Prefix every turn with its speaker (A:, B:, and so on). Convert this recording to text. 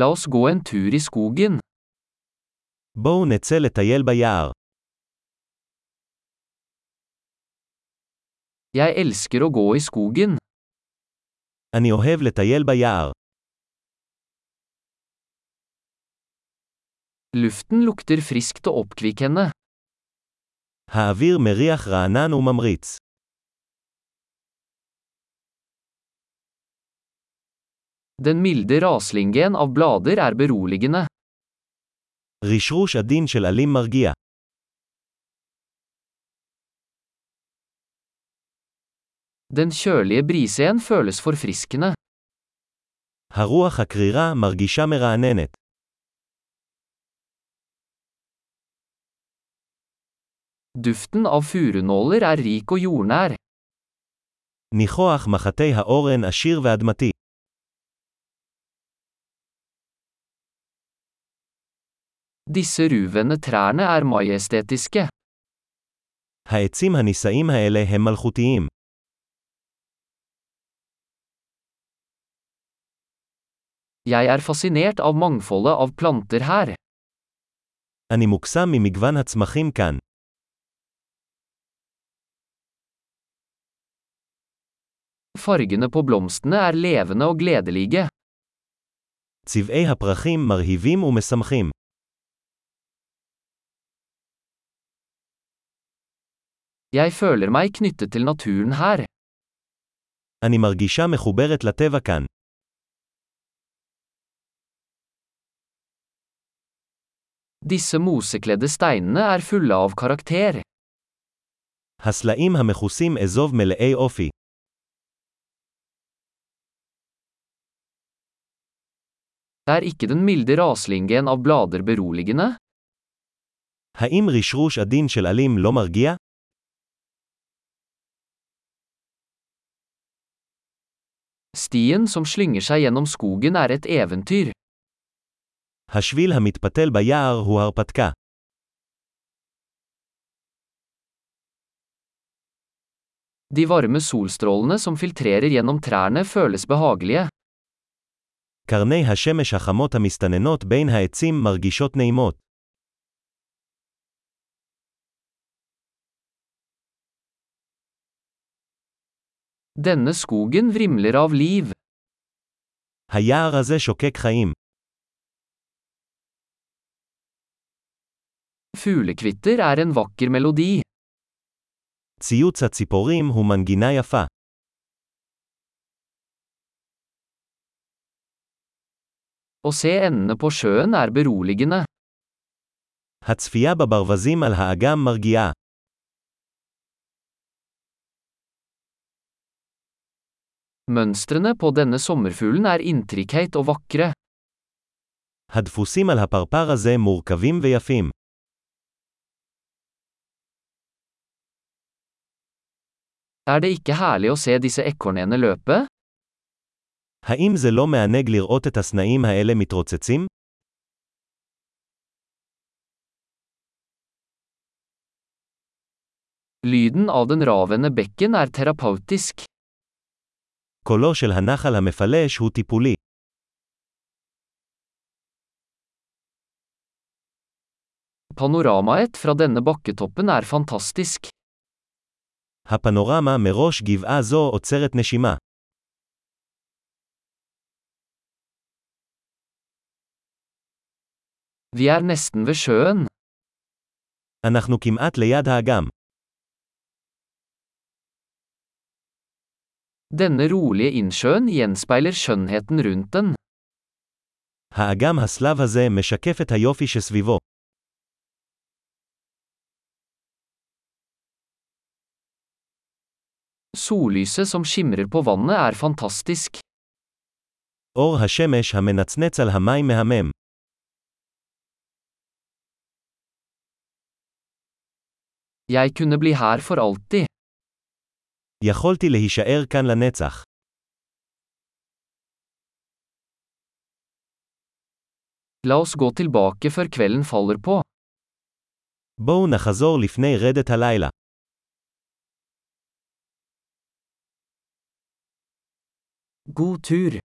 A: La oss gå en tur i skogen.
B: בואו נצא לטייל ביער.
A: Jeg elsker å gå i skogen.
B: אני אוהב לטייל ביער.
A: Luften lukter friskt og oppkvikkende.
B: האוויר מריח רענן וממריץ.
A: Den milde raslingen av blader er beroligende.
B: רשרוש עדין של עלים מרגיע.
A: Den kjølige brisen føles forfriskende.
B: הרוח הקרירה מרגישה מרעננת.
A: Duften av furunåler er rik og jordnær.
B: ניחוח מחטי האורן עשיר ואדמתי.
A: Disse ruvende trærne er majestetiske.
B: העצים הנישאים האלה הם מלכותיים.
A: Jeg er fascinert av mangfoldet av planter her.
B: אני מוקסם ממגוון הצמחים כאן.
A: Fargene på blomstene er levende og gledelige.
B: צבעי הפרחים מרהיבים ומשמחים.
A: Jeg føler meg knyttet til naturen her.
B: אני מרגישה מחוברת לטבע כאן.
A: Disse mosekledde steinene er fulle av karakter.
B: הסלעים המכוסים אזוב מלאי אופי.
A: Er ikke den milde raslingen av blader beroligende?
B: האם רשרוש עדין של עלים לא מרגיע?
A: Stien som slynger seg gjennom skogen er et eventyr.
B: השביל המתפתל ביער הוא הרפתקה.
A: De varme solstrålene som filtrerer gjennom trærne føles behagelige.
B: קרני השמש החמות המסתננות בין העצים מרגישות נעימות.
A: Denne skogen vrimler av liv.
B: היער הזה שוקק חיים.
A: Fuglekvitter er en vakker melodi.
B: ציוץ הציפורים הוא מנגינה יפה.
A: Å se endene på sjøen er beroligende.
B: הצפייה בברווזים על האגם מרגיעה.
A: Mønstrene på denne sommerfuglen er intrikate og vakre.
B: הדפוסים על הפרפר הזה מורכבים ויפים.
A: Er det ikke herlig å se disse ekornene løpe?
B: האם זה לא מענג לראות את הסנאים האלה מתרוצצים?
A: Lyden av den ravende bekken er terapeutisk.
B: קולו של הנחל המפלש הוא טיפולי.
A: Panoramaet fra denne bakketoppen er fantastisk.
B: הפנורמה מראש גבעה זו עוצרת נשימה.
A: Vi er nesten ved sjøen.
B: אנחנו כמעט ליד האגם.
A: Denne rolige innsjøen gjenspeiler skjønnheten rundt den.
B: האגם הסלב הזה משקף את היופי שסביבו.
A: Sollyset som skimrer på vannet er fantastisk.
B: אור השמש המנצנץ על המים מהמם.
A: Jeg kunne bli her for alltid.
B: יכולתי להישאר כאן לנצח.
A: La oss gå tilbake før kvelden faller på.
B: בואו נחזור לפני רדת הלילה.
A: God tur!